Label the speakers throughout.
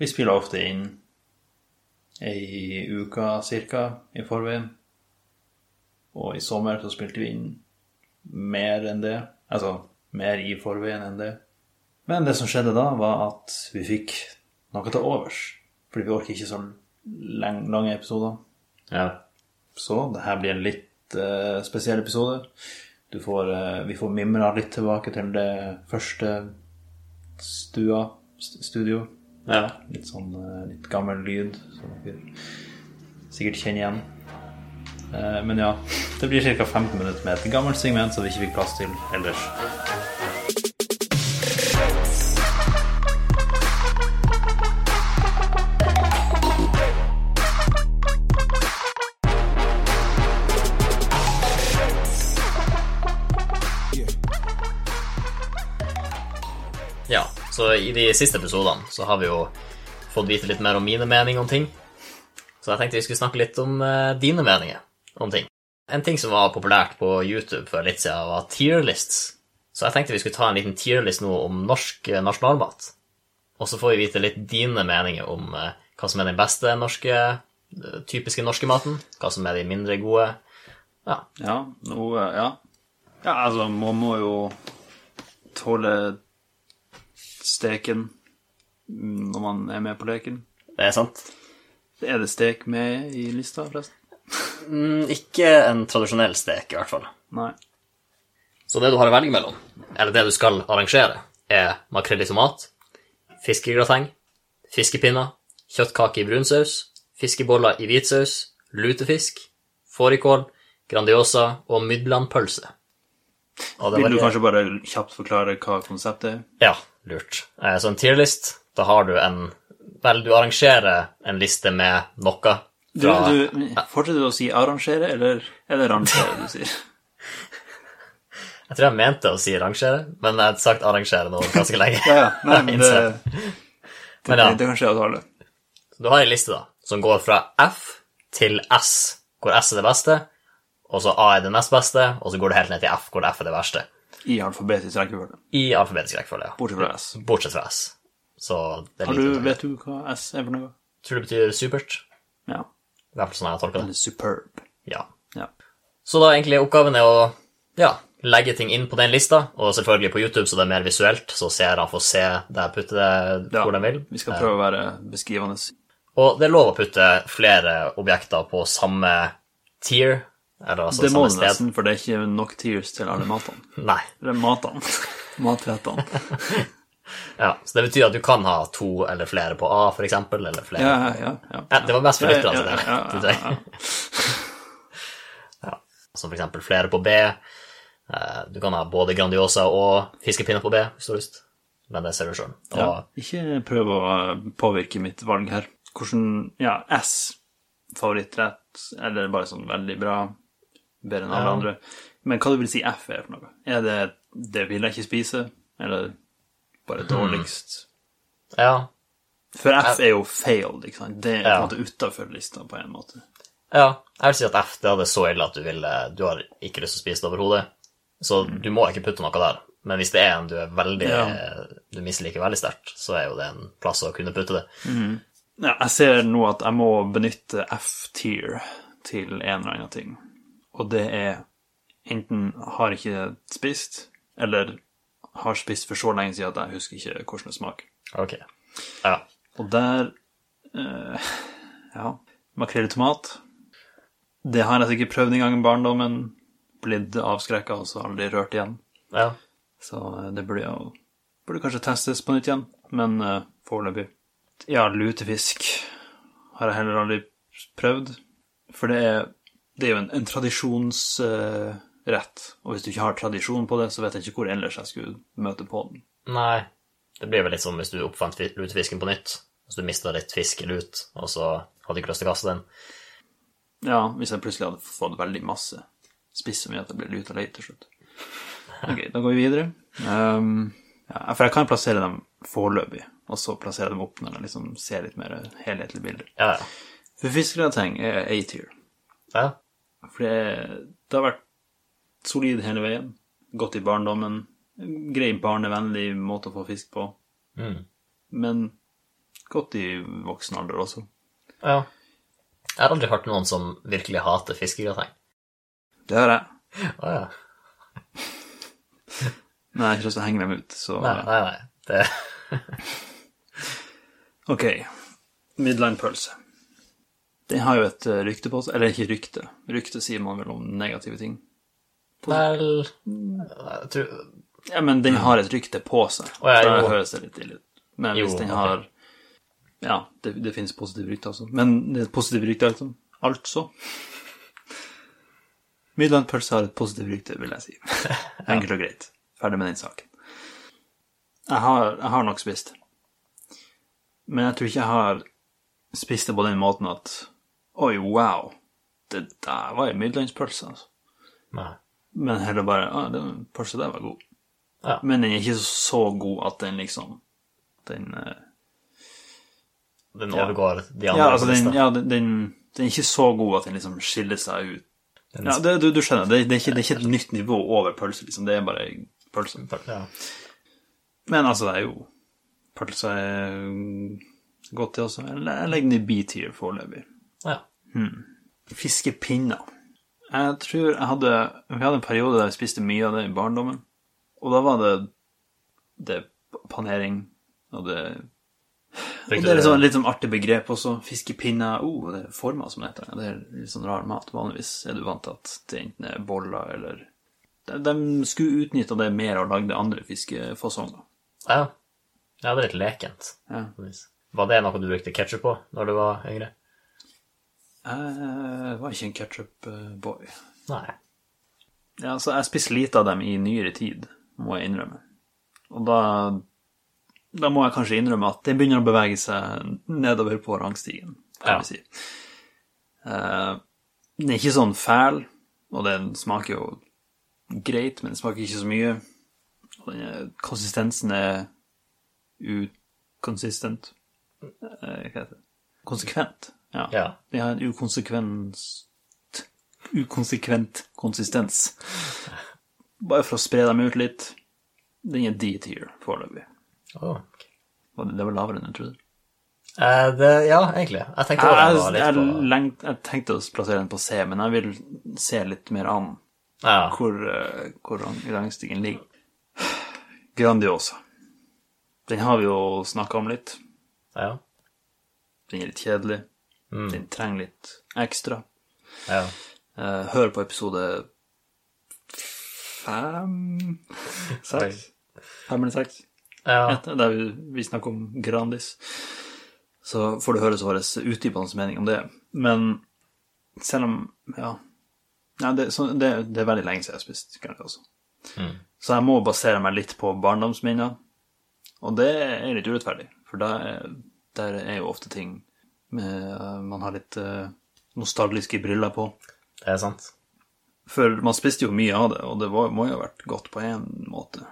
Speaker 1: Vi spiller ofte inn ei uke cirka i forveien. Og i sommer så spilte vi inn mer enn det. Altså mer i forveien enn det. Men det som skjedde da, var at vi fikk noe til overs. Fordi vi orker ikke så lang, lange episoder.
Speaker 2: Ja.
Speaker 1: Så det her blir en litt eh, spesiell episode. Du får, eh, vi får mimra litt tilbake til det første stua, st- studio.
Speaker 2: ja.
Speaker 1: Litt sånn eh, litt gammel lyd som dere sikkert kjenner igjen. Eh, Men ja, det blir ca. 15 minutter med et gammelt segment som vi ikke fikk plass til ellers.
Speaker 2: ja. Så i de siste episodene så har vi jo fått vite litt mer om mine meninger om ting. Så jeg tenkte vi skulle snakke litt om eh, dine meninger om ting. En ting som var populært på YouTube for litt siden, var tierlists. Så jeg tenkte vi skulle ta en liten tierlist nå om norsk eh, nasjonalmat. Og så får vi vite litt dine meninger om eh, hva som er den beste norske, eh, typiske norske maten, hva som er de mindre gode. Ja,
Speaker 1: Ja, nå eh, Ja. Ja, altså, man må jo tåle steken mm, når man er med på leken.
Speaker 2: det er sant.
Speaker 1: Er det stek med i lista, forresten?
Speaker 2: Mm, Ikke en tradisjonell stek, i hvert fall.
Speaker 1: Nei.
Speaker 2: Så det du har å velge mellom, eller det du skal arrangere, er makrell i tomat, fiskegrateng, fiskepinner, kjøttkake i brunsaus, fiskeboller i hvitsaus, lutefisk, fårikål, Grandiosa og Mydlandpølse. Og det
Speaker 1: Vil du
Speaker 2: var-
Speaker 1: kanskje bare kjapt forklare hva konseptet er?
Speaker 2: Ja, lurt. Eh, Så en tierlist, da har du en Vel, du arrangerer en liste med noe. Fra,
Speaker 1: Du, du, fortsetter du å si arrangere, eller er det rangere du sier?
Speaker 2: Jeg tror jeg mente å si rangere, men jeg har sagt arrangere nå ganske lenge.
Speaker 1: Ja, ja. Nei, men det,
Speaker 2: Innser.
Speaker 1: det, det,
Speaker 2: Men ja.
Speaker 1: det kan skje hos alle.
Speaker 2: Du har en liste da, som går fra F til S, hvor S er det beste, og så A er det nest beste, og så går det helt ned til F, hvor F er det verste.
Speaker 1: I alfabetisk rekkefølge.
Speaker 2: I alfabetisk rekkefølge, ja.
Speaker 1: Bortsett fra S.
Speaker 2: Bortsett fra S. Så det er
Speaker 1: Har
Speaker 2: lite
Speaker 1: du,
Speaker 2: som-
Speaker 1: vet du hva S er for noe?
Speaker 2: Tror det betyr supert.
Speaker 1: Ja.
Speaker 2: I hvert fall sånn jeg tolker det.
Speaker 1: Eller superb.
Speaker 2: Ja.
Speaker 1: Ja.
Speaker 2: Så da egentlig oppgaven er å ja, legge ting inn på den lista, og selvfølgelig på YouTube, så det er mer visuelt, så seerne får se der jeg putter det
Speaker 1: Ja,
Speaker 2: hvor de vil.
Speaker 1: Vi skal prøve å være beskrivende.
Speaker 2: Og det er lov å putte flere objekter på samme tier, eller altså
Speaker 1: det må
Speaker 2: samme
Speaker 1: du
Speaker 2: sted.
Speaker 1: nesten, for det er ikke nok tears til alle matene.
Speaker 2: Nei.
Speaker 1: Eller matene. Matrettene.
Speaker 2: Ja, så det betyr at du kan ha to eller flere på A, for eksempel, eller flere.
Speaker 1: Ja,
Speaker 2: Ja.
Speaker 1: ja, ja. ja.
Speaker 2: det var mest for
Speaker 1: Ja,
Speaker 2: lytterne
Speaker 1: ja,
Speaker 2: til det.
Speaker 1: ja, ja,
Speaker 2: til deg. Ja, Som for eksempel flere på B. Eh, Du kan ha både Grandiosa og fiskepinner på B, hvis du har lyst. Men det ser du sjøl. Og
Speaker 1: Ja. Ikke prøv å eh, påvirke mitt valg her. Hvordan Ja, S. Favorittrett, eller bare sånn veldig bra. Bedre enn alle
Speaker 2: Ja.
Speaker 1: andre. Men hva du vil si F er for noe? Er det 'det vil jeg ikke spise', eller bare dårligst?
Speaker 2: ja.
Speaker 1: For F er jo failed, ikke sant? Det er på en
Speaker 2: Ja.
Speaker 1: måte utafor lista, på en måte.
Speaker 2: ja. Jeg vil si at F det hadde så ille at du, ville, du har ikke lyst til å spise det overhodet. Så
Speaker 1: Mm.
Speaker 2: du må ikke putte noe der. Men hvis det er en du er veldig
Speaker 1: Ja.
Speaker 2: Du misliker veldig sterkt, så er jo det en plass å kunne putte det.
Speaker 1: Ja, jeg ser nå at jeg må benytte F-tier til en eller annen ting. Og det er enten har ikke spist, eller har spist for så lenge siden at jeg husker ikke hvordan det smaker.
Speaker 2: Ok. Ja.
Speaker 1: Og der eh, Ja. Makrell i tomat. Det har jeg sikkert prøvd en gang i barndommen. Blitt avskrekka og så aldri rørt igjen.
Speaker 2: ja.
Speaker 1: Så eh, det burde jo Burde kanskje testes på nytt igjen, men eh, foreløpig. Ja, lutefisk har jeg heller aldri prøvd. For det er, det er jo en, en tradisjonsrett. og hvis du ikke har tradisjon på det, så vet jeg ikke hvor ellers jeg skulle møte på den.
Speaker 2: Nei, det blir vel litt som hvis du oppfant fi- lutefisken på nytt. Hvis du mista litt fisk i lut, og så hadde du ikke lyst til å kaste den.
Speaker 1: Ja, hvis jeg plutselig hadde fått veldig masse. Spist så mye at jeg ble luta lei til slutt. Ok, da går vi videre. Ehm, ja, for jeg kan plassere dem foreløpig, og så plassere dem opp når jeg liksom ser litt mer helhetlig bilde.
Speaker 2: Ja, ja.
Speaker 1: For fiskegrateng er A-tier.
Speaker 2: ja.
Speaker 1: For det, det har vært solid hele veien. Godt i barndommen. Grei barnevennlig måte å få fisk på.
Speaker 2: Mm.
Speaker 1: Men godt i voksen alder også.
Speaker 2: Ja. Jeg har aldri hørt noen som virkelig hater fiskegrateng.
Speaker 1: Det har jeg.
Speaker 2: Å ja.
Speaker 1: Men jeg har ikke lyst til å henge dem ut, så
Speaker 2: Nei, nei, nei. Det,
Speaker 1: Ok. Midline-pølse. Den har jo et eh, rykte på seg Eller ikke rykte. Rykte sier man vel om negative ting.
Speaker 2: vel jeg tror,
Speaker 1: Ja, men den har et rykte på seg.
Speaker 2: Mm. Å, ja,
Speaker 1: så da
Speaker 2: jo.
Speaker 1: høres det litt ille ut. Men hvis
Speaker 2: Jo,
Speaker 1: den
Speaker 2: ok.
Speaker 1: har Ja, det, det finnes positive rykter også. Men det er et positivt rykte, altså. Altså. Midlandpølse har et positivt rykte, vil jeg si. Enkelt og greit. Ferdig med den saken. Jeg har, jeg har nok spist. Men jeg tror ikke jeg har spist det på den måten at Oi, wow. Det der var ei midlandspølse, altså.
Speaker 2: Nei.
Speaker 1: Men heller bare ah, den pølsa der var god.
Speaker 2: Ja.
Speaker 1: Men den er ikke så god at den liksom Den eh,
Speaker 2: Den overgår de andre
Speaker 1: Ja, altså,
Speaker 2: på lista.
Speaker 1: den, ja, den, den, den er ikke så god at den liksom skiller seg ut.
Speaker 2: Den-
Speaker 1: Ja, det, du, du skjønner, det, det, er ikke, det er ikke et nytt nivå over pølse, liksom. Det er bare pølse.
Speaker 2: Ja.
Speaker 1: Men altså, det er jo Pølse er mm, godt, det også. Jeg, jeg legger den i B-tier foreløpig.
Speaker 2: ja.
Speaker 1: Fiskepinner. Jeg tror jeg hadde Vi hadde en periode der jeg spiste mye av det i barndommen. Og da var det det panering og det Og
Speaker 2: Fikk
Speaker 1: det er
Speaker 2: du det?
Speaker 1: litt sånn, litt sånn artig begrep også. Fiskepinner oh, det er former som det heter. Det er litt sånn rar mat. Vanligvis er du vant til at det enten er boller eller De, de skulle utnytta det mer og lagde andre fiskefasonger.
Speaker 2: ja. Ja, det er litt lekent.
Speaker 1: Ja.
Speaker 2: på vis. Var det noe du brukte ketsjup på når du var yngre?
Speaker 1: Jeg var ikke en eh, ketchup-boy.
Speaker 2: Nei.
Speaker 1: Ja, altså, jeg spiste lite av dem i nyere tid, må jeg innrømme. Og da, da må jeg kanskje innrømme at det begynner å bevege seg nedover på rangstigen, kan
Speaker 2: Ja.
Speaker 1: vi si. Eh, den er ikke sånn fæl, og den smaker jo greit, men den smaker ikke så mye. Og den er, konsistensen er ukonsistent. Eh, hva heter det? Konsekvent. Ja.
Speaker 2: Ja.
Speaker 1: Den har en ukonsekvens ukonsekvent konsistens. Bare for å spre dem ut litt. Den er D-tier foreløpig.
Speaker 2: Åh.
Speaker 1: Var Det det var lavere enn jeg trodde.
Speaker 2: Eh, det, ja, egentlig. Jeg tenkte
Speaker 1: Jeg,
Speaker 2: også
Speaker 1: jeg,
Speaker 2: det var litt på
Speaker 1: lengt, jeg tenkte å plassere den på C, men jeg vil se litt mer an
Speaker 2: Ja.
Speaker 1: hvor, eh, hvor rang- rangstigen ligger. Grandiosa. Den har vi jo snakka om litt.
Speaker 2: ja.
Speaker 1: Den er litt kjedelig.
Speaker 2: Mm.
Speaker 1: Den trenger litt ekstra.
Speaker 2: ja.
Speaker 1: Eh, Hør på episode fem Seks? Fem eller seks?
Speaker 2: Ja.
Speaker 1: etter, der vi, vi snakker om Grandis. Så får du høre vår utdypende mening om det. Men selv om Ja. Nei, det, så, det, det er veldig lenge siden jeg har spist Grandis også.
Speaker 2: Mm.
Speaker 1: Så jeg må basere meg litt på barndomsminner. Og det er litt urettferdig, for der er, der er jo ofte ting med, man har litt eh, nostalgiske briller på.
Speaker 2: Det er sant.
Speaker 1: For man spiste jo mye av det, og det var, må jo ha vært godt på én måte.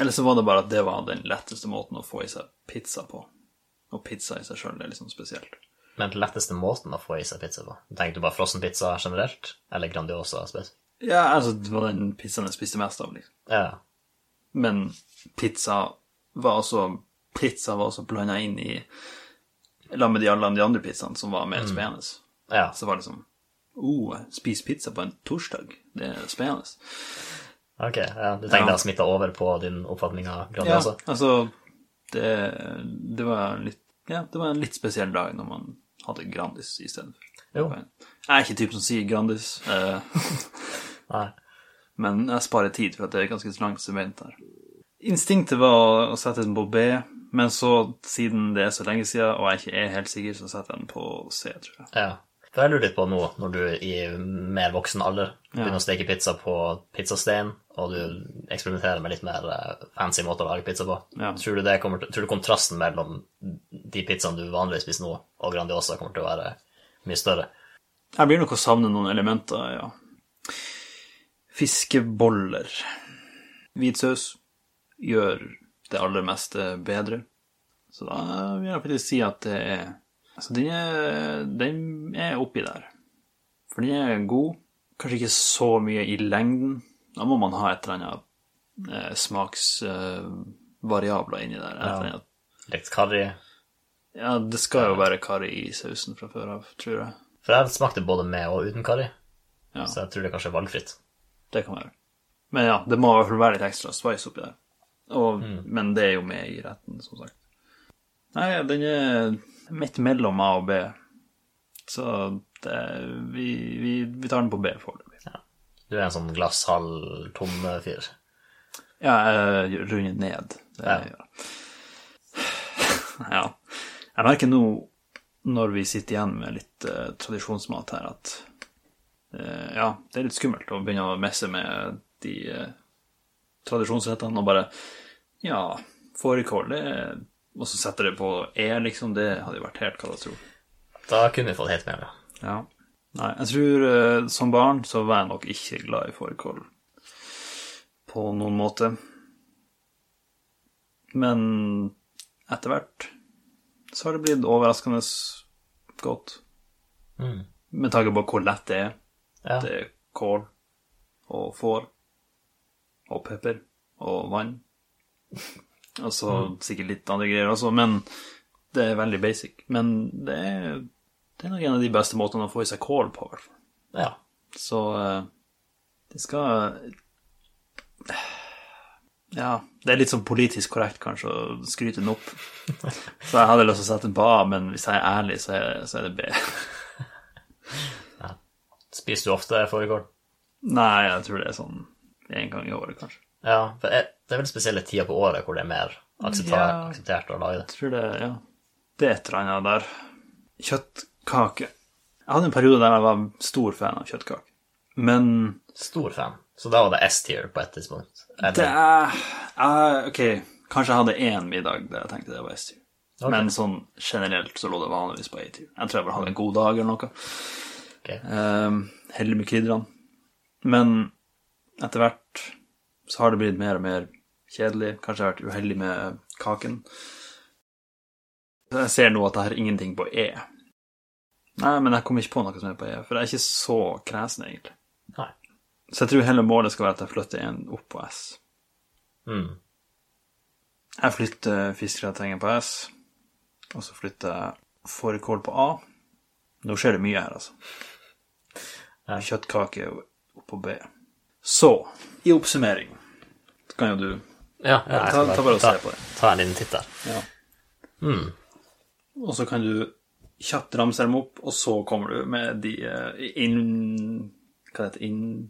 Speaker 1: Eller så var det bare at det var den letteste måten å få i seg pizza på. Og pizza i seg sjøl er liksom spesielt.
Speaker 2: Men den letteste måten å få i seg pizza på? Tenker du bare frossenpizza generelt? Eller Grandiosa spesielt?
Speaker 1: Ja, altså, det var den pizzaen jeg spiste mest av, liksom.
Speaker 2: Ja.
Speaker 1: Men pizza var også Pizza var også blanda inn i Sammen med de, alle de andre pizzaene som var mer spennende.
Speaker 2: ja.
Speaker 1: Så var det liksom Oh, spis pizza på en torsdag. Det er spennende.
Speaker 2: Ok. Ja. Du tenker
Speaker 1: Ja.
Speaker 2: det har smitta over på din oppfatning av Grandiosa?
Speaker 1: Ja, altså det, det var en litt Ja, det var en litt spesiell dag når man hadde Grandis istedenfor.
Speaker 2: Jo.
Speaker 1: Jeg er ikke typen som sier Grandis, eh,
Speaker 2: Nei.
Speaker 1: men jeg sparer tid, for at det er ganske langt sement her. Instinktet var å sette den på B, men så, siden det er så lenge siden, og jeg ikke er helt sikker, så setter jeg den på C, tror jeg.
Speaker 2: Ja. For jeg lurer litt på nå, når du i mer voksen alder begynner å steke pizza på pizzastein, og du eksperimenterer med litt mer eh, fancy måter å lage pizza på,
Speaker 1: Ja.
Speaker 2: tror, du det kommer, til- tror du kontrasten mellom de pizzaene du vanligvis spiser nå, og Grandiosa kommer til å være mye større?
Speaker 1: Jeg blir nok å savne noen elementer, ja. Fiskeboller. Hvit saus gjør det aller meste bedre. Så da vil jeg faktisk si at det er Altså, den er, den er oppi der. For den er god. Kanskje ikke så mye i lengden. Da må man ha et eller annet eh, smaksvariabler inni der. Et eller annet
Speaker 2: Litt karri,
Speaker 1: Ja, det skal jo være karri i sausen fra før av, tror jeg.
Speaker 2: For jeg smakte både med og uten karri,
Speaker 1: Ja.
Speaker 2: så jeg tror det kanskje er valgfritt.
Speaker 1: Det kan være. Men ja, det må i hvert fall være litt ekstra spice oppi der. Og, Men det er jo med i retten, som sagt. Nei, den er midt mellom A og B. Så det, vi, vi, vi tar den på B foreløpig.
Speaker 2: Du er en sånn glasshalvtom fyr.
Speaker 1: Ja, jeg runder ned. Det
Speaker 2: Ja.
Speaker 1: gjør jeg. Ja. Jeg merker nå, når vi sitter igjen med litt eh, tradisjonsmat her, at eh, ja, det er litt skummelt å begynne å messe med de eh, tradisjonsrettene og bare Ja, fårikål, det er- Og så setter det på E, liksom. Det hadde jo vært helt katastrofe.
Speaker 2: Da kunne vi fått helt med det.
Speaker 1: Ja. Nei, jeg tror eh, som barn så var jeg nok ikke glad i fårikål på noen måte. Men etter hvert så har det blitt overraskende godt.
Speaker 2: Mm.
Speaker 1: Med tanke på hvor lett det er.
Speaker 2: Ja.
Speaker 1: Det er kål og får og pepper og vann. Og så sikkert litt andre greier også, men det er veldig basic. Men det er, det er nok en av de beste måtene å få i seg kål på, i hvert fall.
Speaker 2: ja.
Speaker 1: Så eh, det skal Ja, det er litt sånn politisk korrekt kanskje å skryte den opp. Så jeg hadde lyst til å sette den på A, men hvis jeg er ærlig, så er, så er det B.
Speaker 2: Spiser du ofte fårikål?
Speaker 1: Nei, jeg tror det er sånn én gang i året, kanskje.
Speaker 2: Ja, for jeg- det er vel spesielle tider på året hvor det er mer aksepta-
Speaker 1: Ja.
Speaker 2: akseptert å lage det.
Speaker 1: Jeg tror det, ja. Det er et eller annet der. Kjøttkake. Jeg hadde en periode der jeg var stor fan av kjøttkake. Men
Speaker 2: Stor fan. Så da var det S-tier på et tidspunkt. Jeg
Speaker 1: det
Speaker 2: tenkte,
Speaker 1: er jeg- Ok, kanskje jeg hadde én middag der jeg tenkte det var S-tier.
Speaker 2: Ok.
Speaker 1: Men sånn generelt så lå det vanligvis på A-tier. Jeg tror jeg bare hadde en god dag eller noe.
Speaker 2: ok.
Speaker 1: Um, Heldig med krydderne. Men etter hvert så har det blitt mer og mer kjedelig. Kanskje jeg har vært uheldig med kaken. Jeg ser nå at jeg har ingenting på E. Nei, men jeg kom ikke på noe som er på E, for jeg er ikke så kresen, egentlig.
Speaker 2: Nei.
Speaker 1: Så jeg tror heller målet skal være at jeg flytter en opp på S.
Speaker 2: Mm.
Speaker 1: Jeg flytter fiskegratengen på S, og så flytter jeg fårikål på A. Nå skjer det mye her, altså.
Speaker 2: Ja.
Speaker 1: Kjøttkake opp på B. Så, i oppsummering, så kan jo du
Speaker 2: Ja, ja,
Speaker 1: ta,
Speaker 2: jeg skal
Speaker 1: ta bare og se
Speaker 2: ta,
Speaker 1: på det.
Speaker 2: ta en liten titt der. Mm.
Speaker 1: Og så kan du kjapt ramse dem opp, og så kommer du med de eh, inn... Hva heter det? Inn,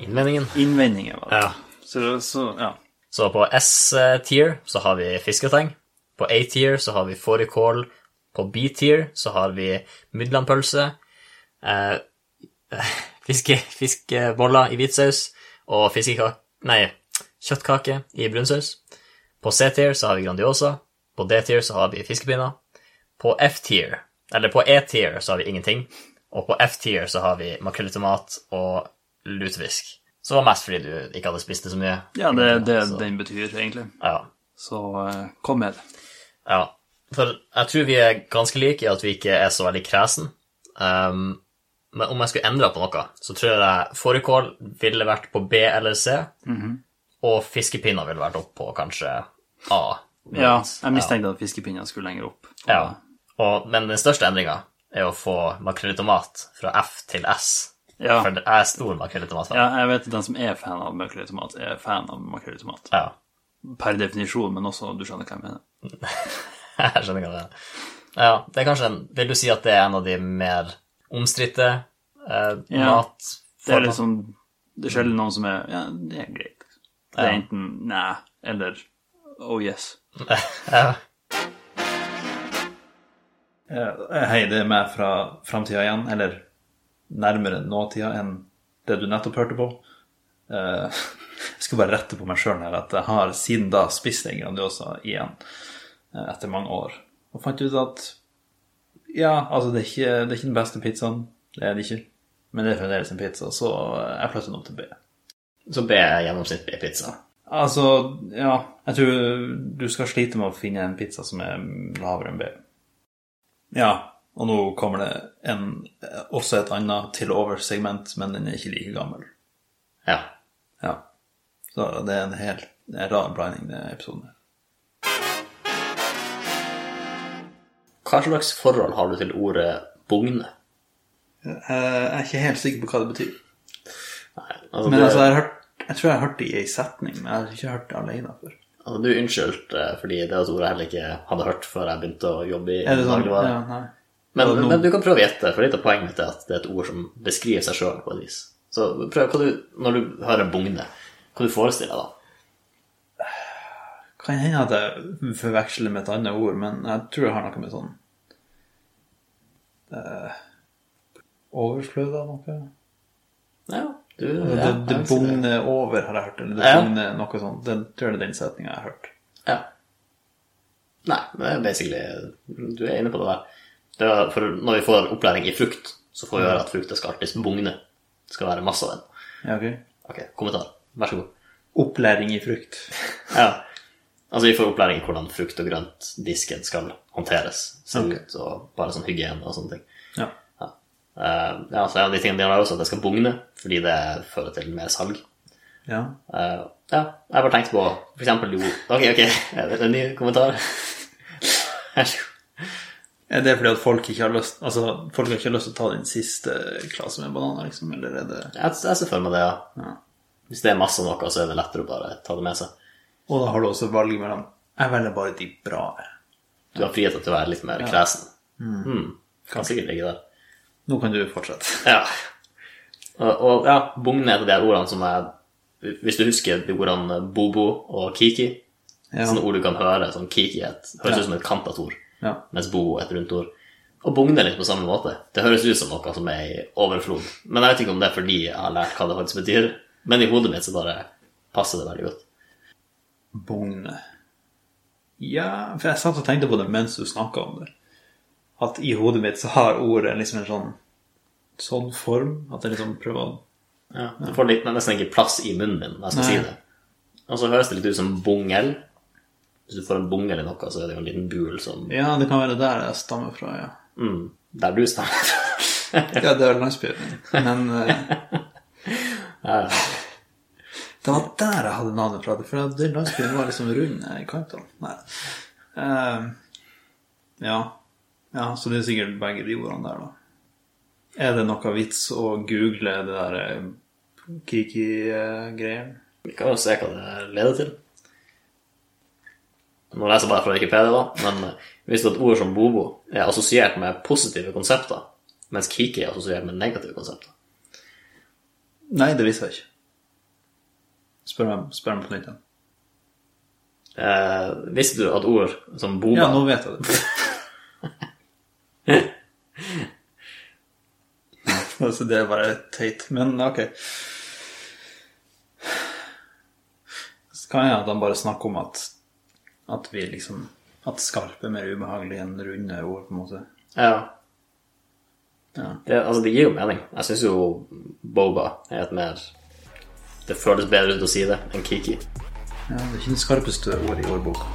Speaker 2: Innvendingen.
Speaker 1: innvendinger, var det.
Speaker 2: Ja.
Speaker 1: Så, så, ja.
Speaker 2: Så på S-tier så har vi fisketeng. På A-tier så har vi fårikål. På B-tier så har vi midlandpølse. Eh, fiske, fiskeboller i hvitsaus. Og fiskekake Nei, kjøttkake i brunsaus. På C-tier så har vi Grandiosa. På D-tier så har vi fiskepinner. På F-tier, eller på E-tier, så har vi ingenting. Og på F-tier så har vi makrell i tomat og lutefisk. Så det var mest fordi du ikke hadde spist det så mye.
Speaker 1: Ja, det er det
Speaker 2: Så-
Speaker 1: den betyr, egentlig.
Speaker 2: ja.
Speaker 1: Så eh, kom med det.
Speaker 2: ja. For jeg tror vi er ganske like i at vi ikke er så veldig kresen. Ehm, men om jeg skulle endra på noe, så tror jeg fårikål ville vært på B eller C,
Speaker 1: Mhm.
Speaker 2: og fiskepinner ville vært opp på kanskje A.
Speaker 1: Ja, jeg mistenkte at fiskepinnen skulle lenger opp.
Speaker 2: Ja. Og, men den største endringa er å få makrell i tomat fra F til S.
Speaker 1: Ja.
Speaker 2: For jeg er stor makrell i tomat.
Speaker 1: Ja, jeg vet at den som er fan av makrell i tomat, er fan av makrell i tomat.
Speaker 2: ja.
Speaker 1: Per definisjon, men også du skjønner hva jeg mener.
Speaker 2: Jeg skjønner hva det er. Ja, det er kanskje en Vil du si at det er en av de mer omstridte eh,
Speaker 1: Ja.
Speaker 2: mat...
Speaker 1: Det er liksom Det er sjelden noen som er Ja, det er greit. liksom. Det er
Speaker 2: Mm. Ja.
Speaker 1: enten nei eller oh yes.
Speaker 2: Ja.
Speaker 1: Hei, Eh, det er meg fra framtida igjen, eller nærmere nåtida enn det du nettopp hørte på. Eh, Jeg skulle bare rette på meg sjøl her at jeg har siden da spist en Grandiosa igjen, eh, etter mange år, og fant ut at ja, altså, det er ikke, det er ikke den beste pizzaen, det er det ikke, men det er fremdeles en pizza, så jeg flytter den opp til B.
Speaker 2: Så ber jeg gjennomsnittlig pizza.
Speaker 1: Altså, ja, jeg tror du skal slite med å finne en pizza som er lavere enn B. Ja, og nå kommer det en, også et annet til over-segment, men den er ikke like gammel.
Speaker 2: Ja.
Speaker 1: Ja. Så det er en helt det er en rar blanding, den episoden. her.
Speaker 2: Hva slags forhold har du til ordet bugne?
Speaker 1: Eh, Jeg er ikke helt sikker på hva det betyr.
Speaker 2: Nei, altså,
Speaker 1: Men
Speaker 2: du,
Speaker 1: altså, jeg, har hørt, jeg tror jeg har hørt det i ei setning, men jeg har ikke hørt det alene før.
Speaker 2: altså, du er unnskyldt eh, fordi det er et ord jeg heller ikke hadde hørt før jeg begynte å jobbe i
Speaker 1: Er det sånn?
Speaker 2: dagligvare.
Speaker 1: Ja, nei.
Speaker 2: Men,
Speaker 1: Ja, nå-
Speaker 2: men du kan prøve å gjette, for litt av poenget mitt er at det er et ord som beskriver seg sjøl på et vis. Så prøv, hva du, når du hører bugne, hva du forestiller deg da?
Speaker 1: Kan hende at jeg forveksler med et annet ord, men jeg tror jeg har noe med sånn eh, Overflød av noe?
Speaker 2: Ja, du,
Speaker 1: Det,
Speaker 2: ja,
Speaker 1: det
Speaker 2: jeg vil si det.
Speaker 1: bugner over, har jeg hørt. Eller det
Speaker 2: Ja.
Speaker 1: bugner noe sånt. Den tror jeg er den setninga jeg har hørt.
Speaker 2: Ja. Nei, men det er basically Du er inne på det der. Det er for når vi får opplæring i frukt, så får vi høre at frukta skal alltid bugne. Det skal være masse av den.
Speaker 1: Ja, ok.
Speaker 2: Ok, kommentar. Vær så god.
Speaker 1: Opplæring i frukt.
Speaker 2: Ja. Altså, vi får opplæring i hvordan frukt- og grøntdisken skal håndteres. Se
Speaker 1: Ok.
Speaker 2: ut og bare sånn hygiene og sånne ting.
Speaker 1: Ja.
Speaker 2: Ja. Eh, ja, så en av de tingene de har, er også at det skal bugne, fordi det fører til mer salg.
Speaker 1: ja.
Speaker 2: Eh, ja, jeg har bare tenkt på for eksempel jo Ok, ok, er det en ny kommentar? Vær så god.
Speaker 1: Er det fordi at folk ikke har lyst Altså, folk har ikke lyst til å ta den siste klasen med bananer, liksom? Eller er det
Speaker 2: Jeg, jeg ser for meg det, ja.
Speaker 1: ja.
Speaker 2: Hvis det er masse av noe, så er det lettere å bare ta det med seg.
Speaker 1: Og da har du også valget mellom Jeg velger bare de bra.
Speaker 2: Du har frihet til å være litt mer kresen. Mm. Kan sikkert ligge der.
Speaker 1: Nå kan du fortsette.
Speaker 2: Ja. Og, og ja, bugne er et av de her ordene som jeg Hvis du husker de ordene bobo og kiki,
Speaker 1: Ja.
Speaker 2: sånne ord du kan høre, sånn kiki er et,
Speaker 1: Ja.
Speaker 2: høres ut som et kantet ord.
Speaker 1: ja.
Speaker 2: mens bo er et rundt ord. Og bugne litt på samme måte. Det høres ut som noe som er i overflod. Men jeg vet ikke om det er fordi jeg har lært hva det faktisk betyr. Men i hodet mitt så bare passer det veldig godt.
Speaker 1: Bugne. Ja, for jeg satt og tenkte på det mens du snakka om det. At i hodet mitt så har ordet liksom en sånn sånn form. At jeg liksom prøver å
Speaker 2: Det får litt, nesten ikke plass i munnen min når jeg skal
Speaker 1: Nei.
Speaker 2: si det. Og så høres det litt ut som bungel. Hvis du får en bungel i noe, så er det jo en liten bul som
Speaker 1: Ja, det kan være der jeg stammer fra, ja.
Speaker 2: mm, Der du stammer fra.
Speaker 1: Ja, det er landsbyen min. Men eh, Det var der jeg hadde navnet fra. For den landsbyen var liksom rund i kantene. Nei. Eh, ja. ja, så det er sikkert begge de ordene der, da. Er det noe vits å google det der eh, Kiki-greien?
Speaker 2: Vi kan jo se hva det leder til. Nå leser jeg bare fra Wikipedia, da, men hvis et ord som bobo er assosiert med positive konsepter, mens kiki er assosiert med negative konsepter
Speaker 1: Nei, det visste jeg ikke. Spør meg, spør meg på nytt. igjen.
Speaker 2: eh, Visste du at ord som boba
Speaker 1: Ja, nå vet jeg det. altså, det er bare teit. Men ok. Så kan jeg at han bare snakker om at, at vi liksom At skarpe er mer ubehagelig enn runde ord, på en måte.
Speaker 2: ja.
Speaker 1: Ja.
Speaker 2: Det, altså, det gir jo mening. Jeg syns jo boba er et mer Det føles bedre ut å si det enn kiki.
Speaker 1: Ja, det er ikke det skarpeste ordet i ordboka.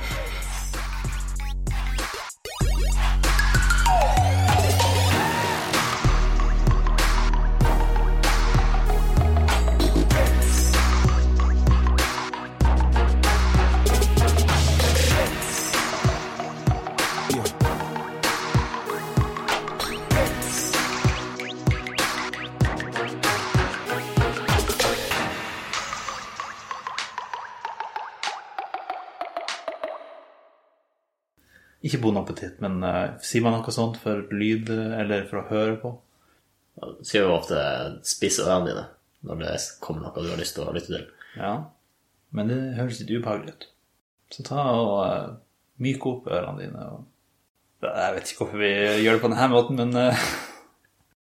Speaker 1: Ikke bon appetitt, men eh, sier man noe sånt for lyd eh, eller for å høre på?
Speaker 2: Du sier jo ofte 'spiss ørene dine' når det kommer noe du har lyst til å lytte til.
Speaker 1: Ja, men det høres litt ubehagelig ut. Så ta og eh, myk opp ørene dine og Jeg vet ikke hvorfor vi gjør det på denne måten, men eh,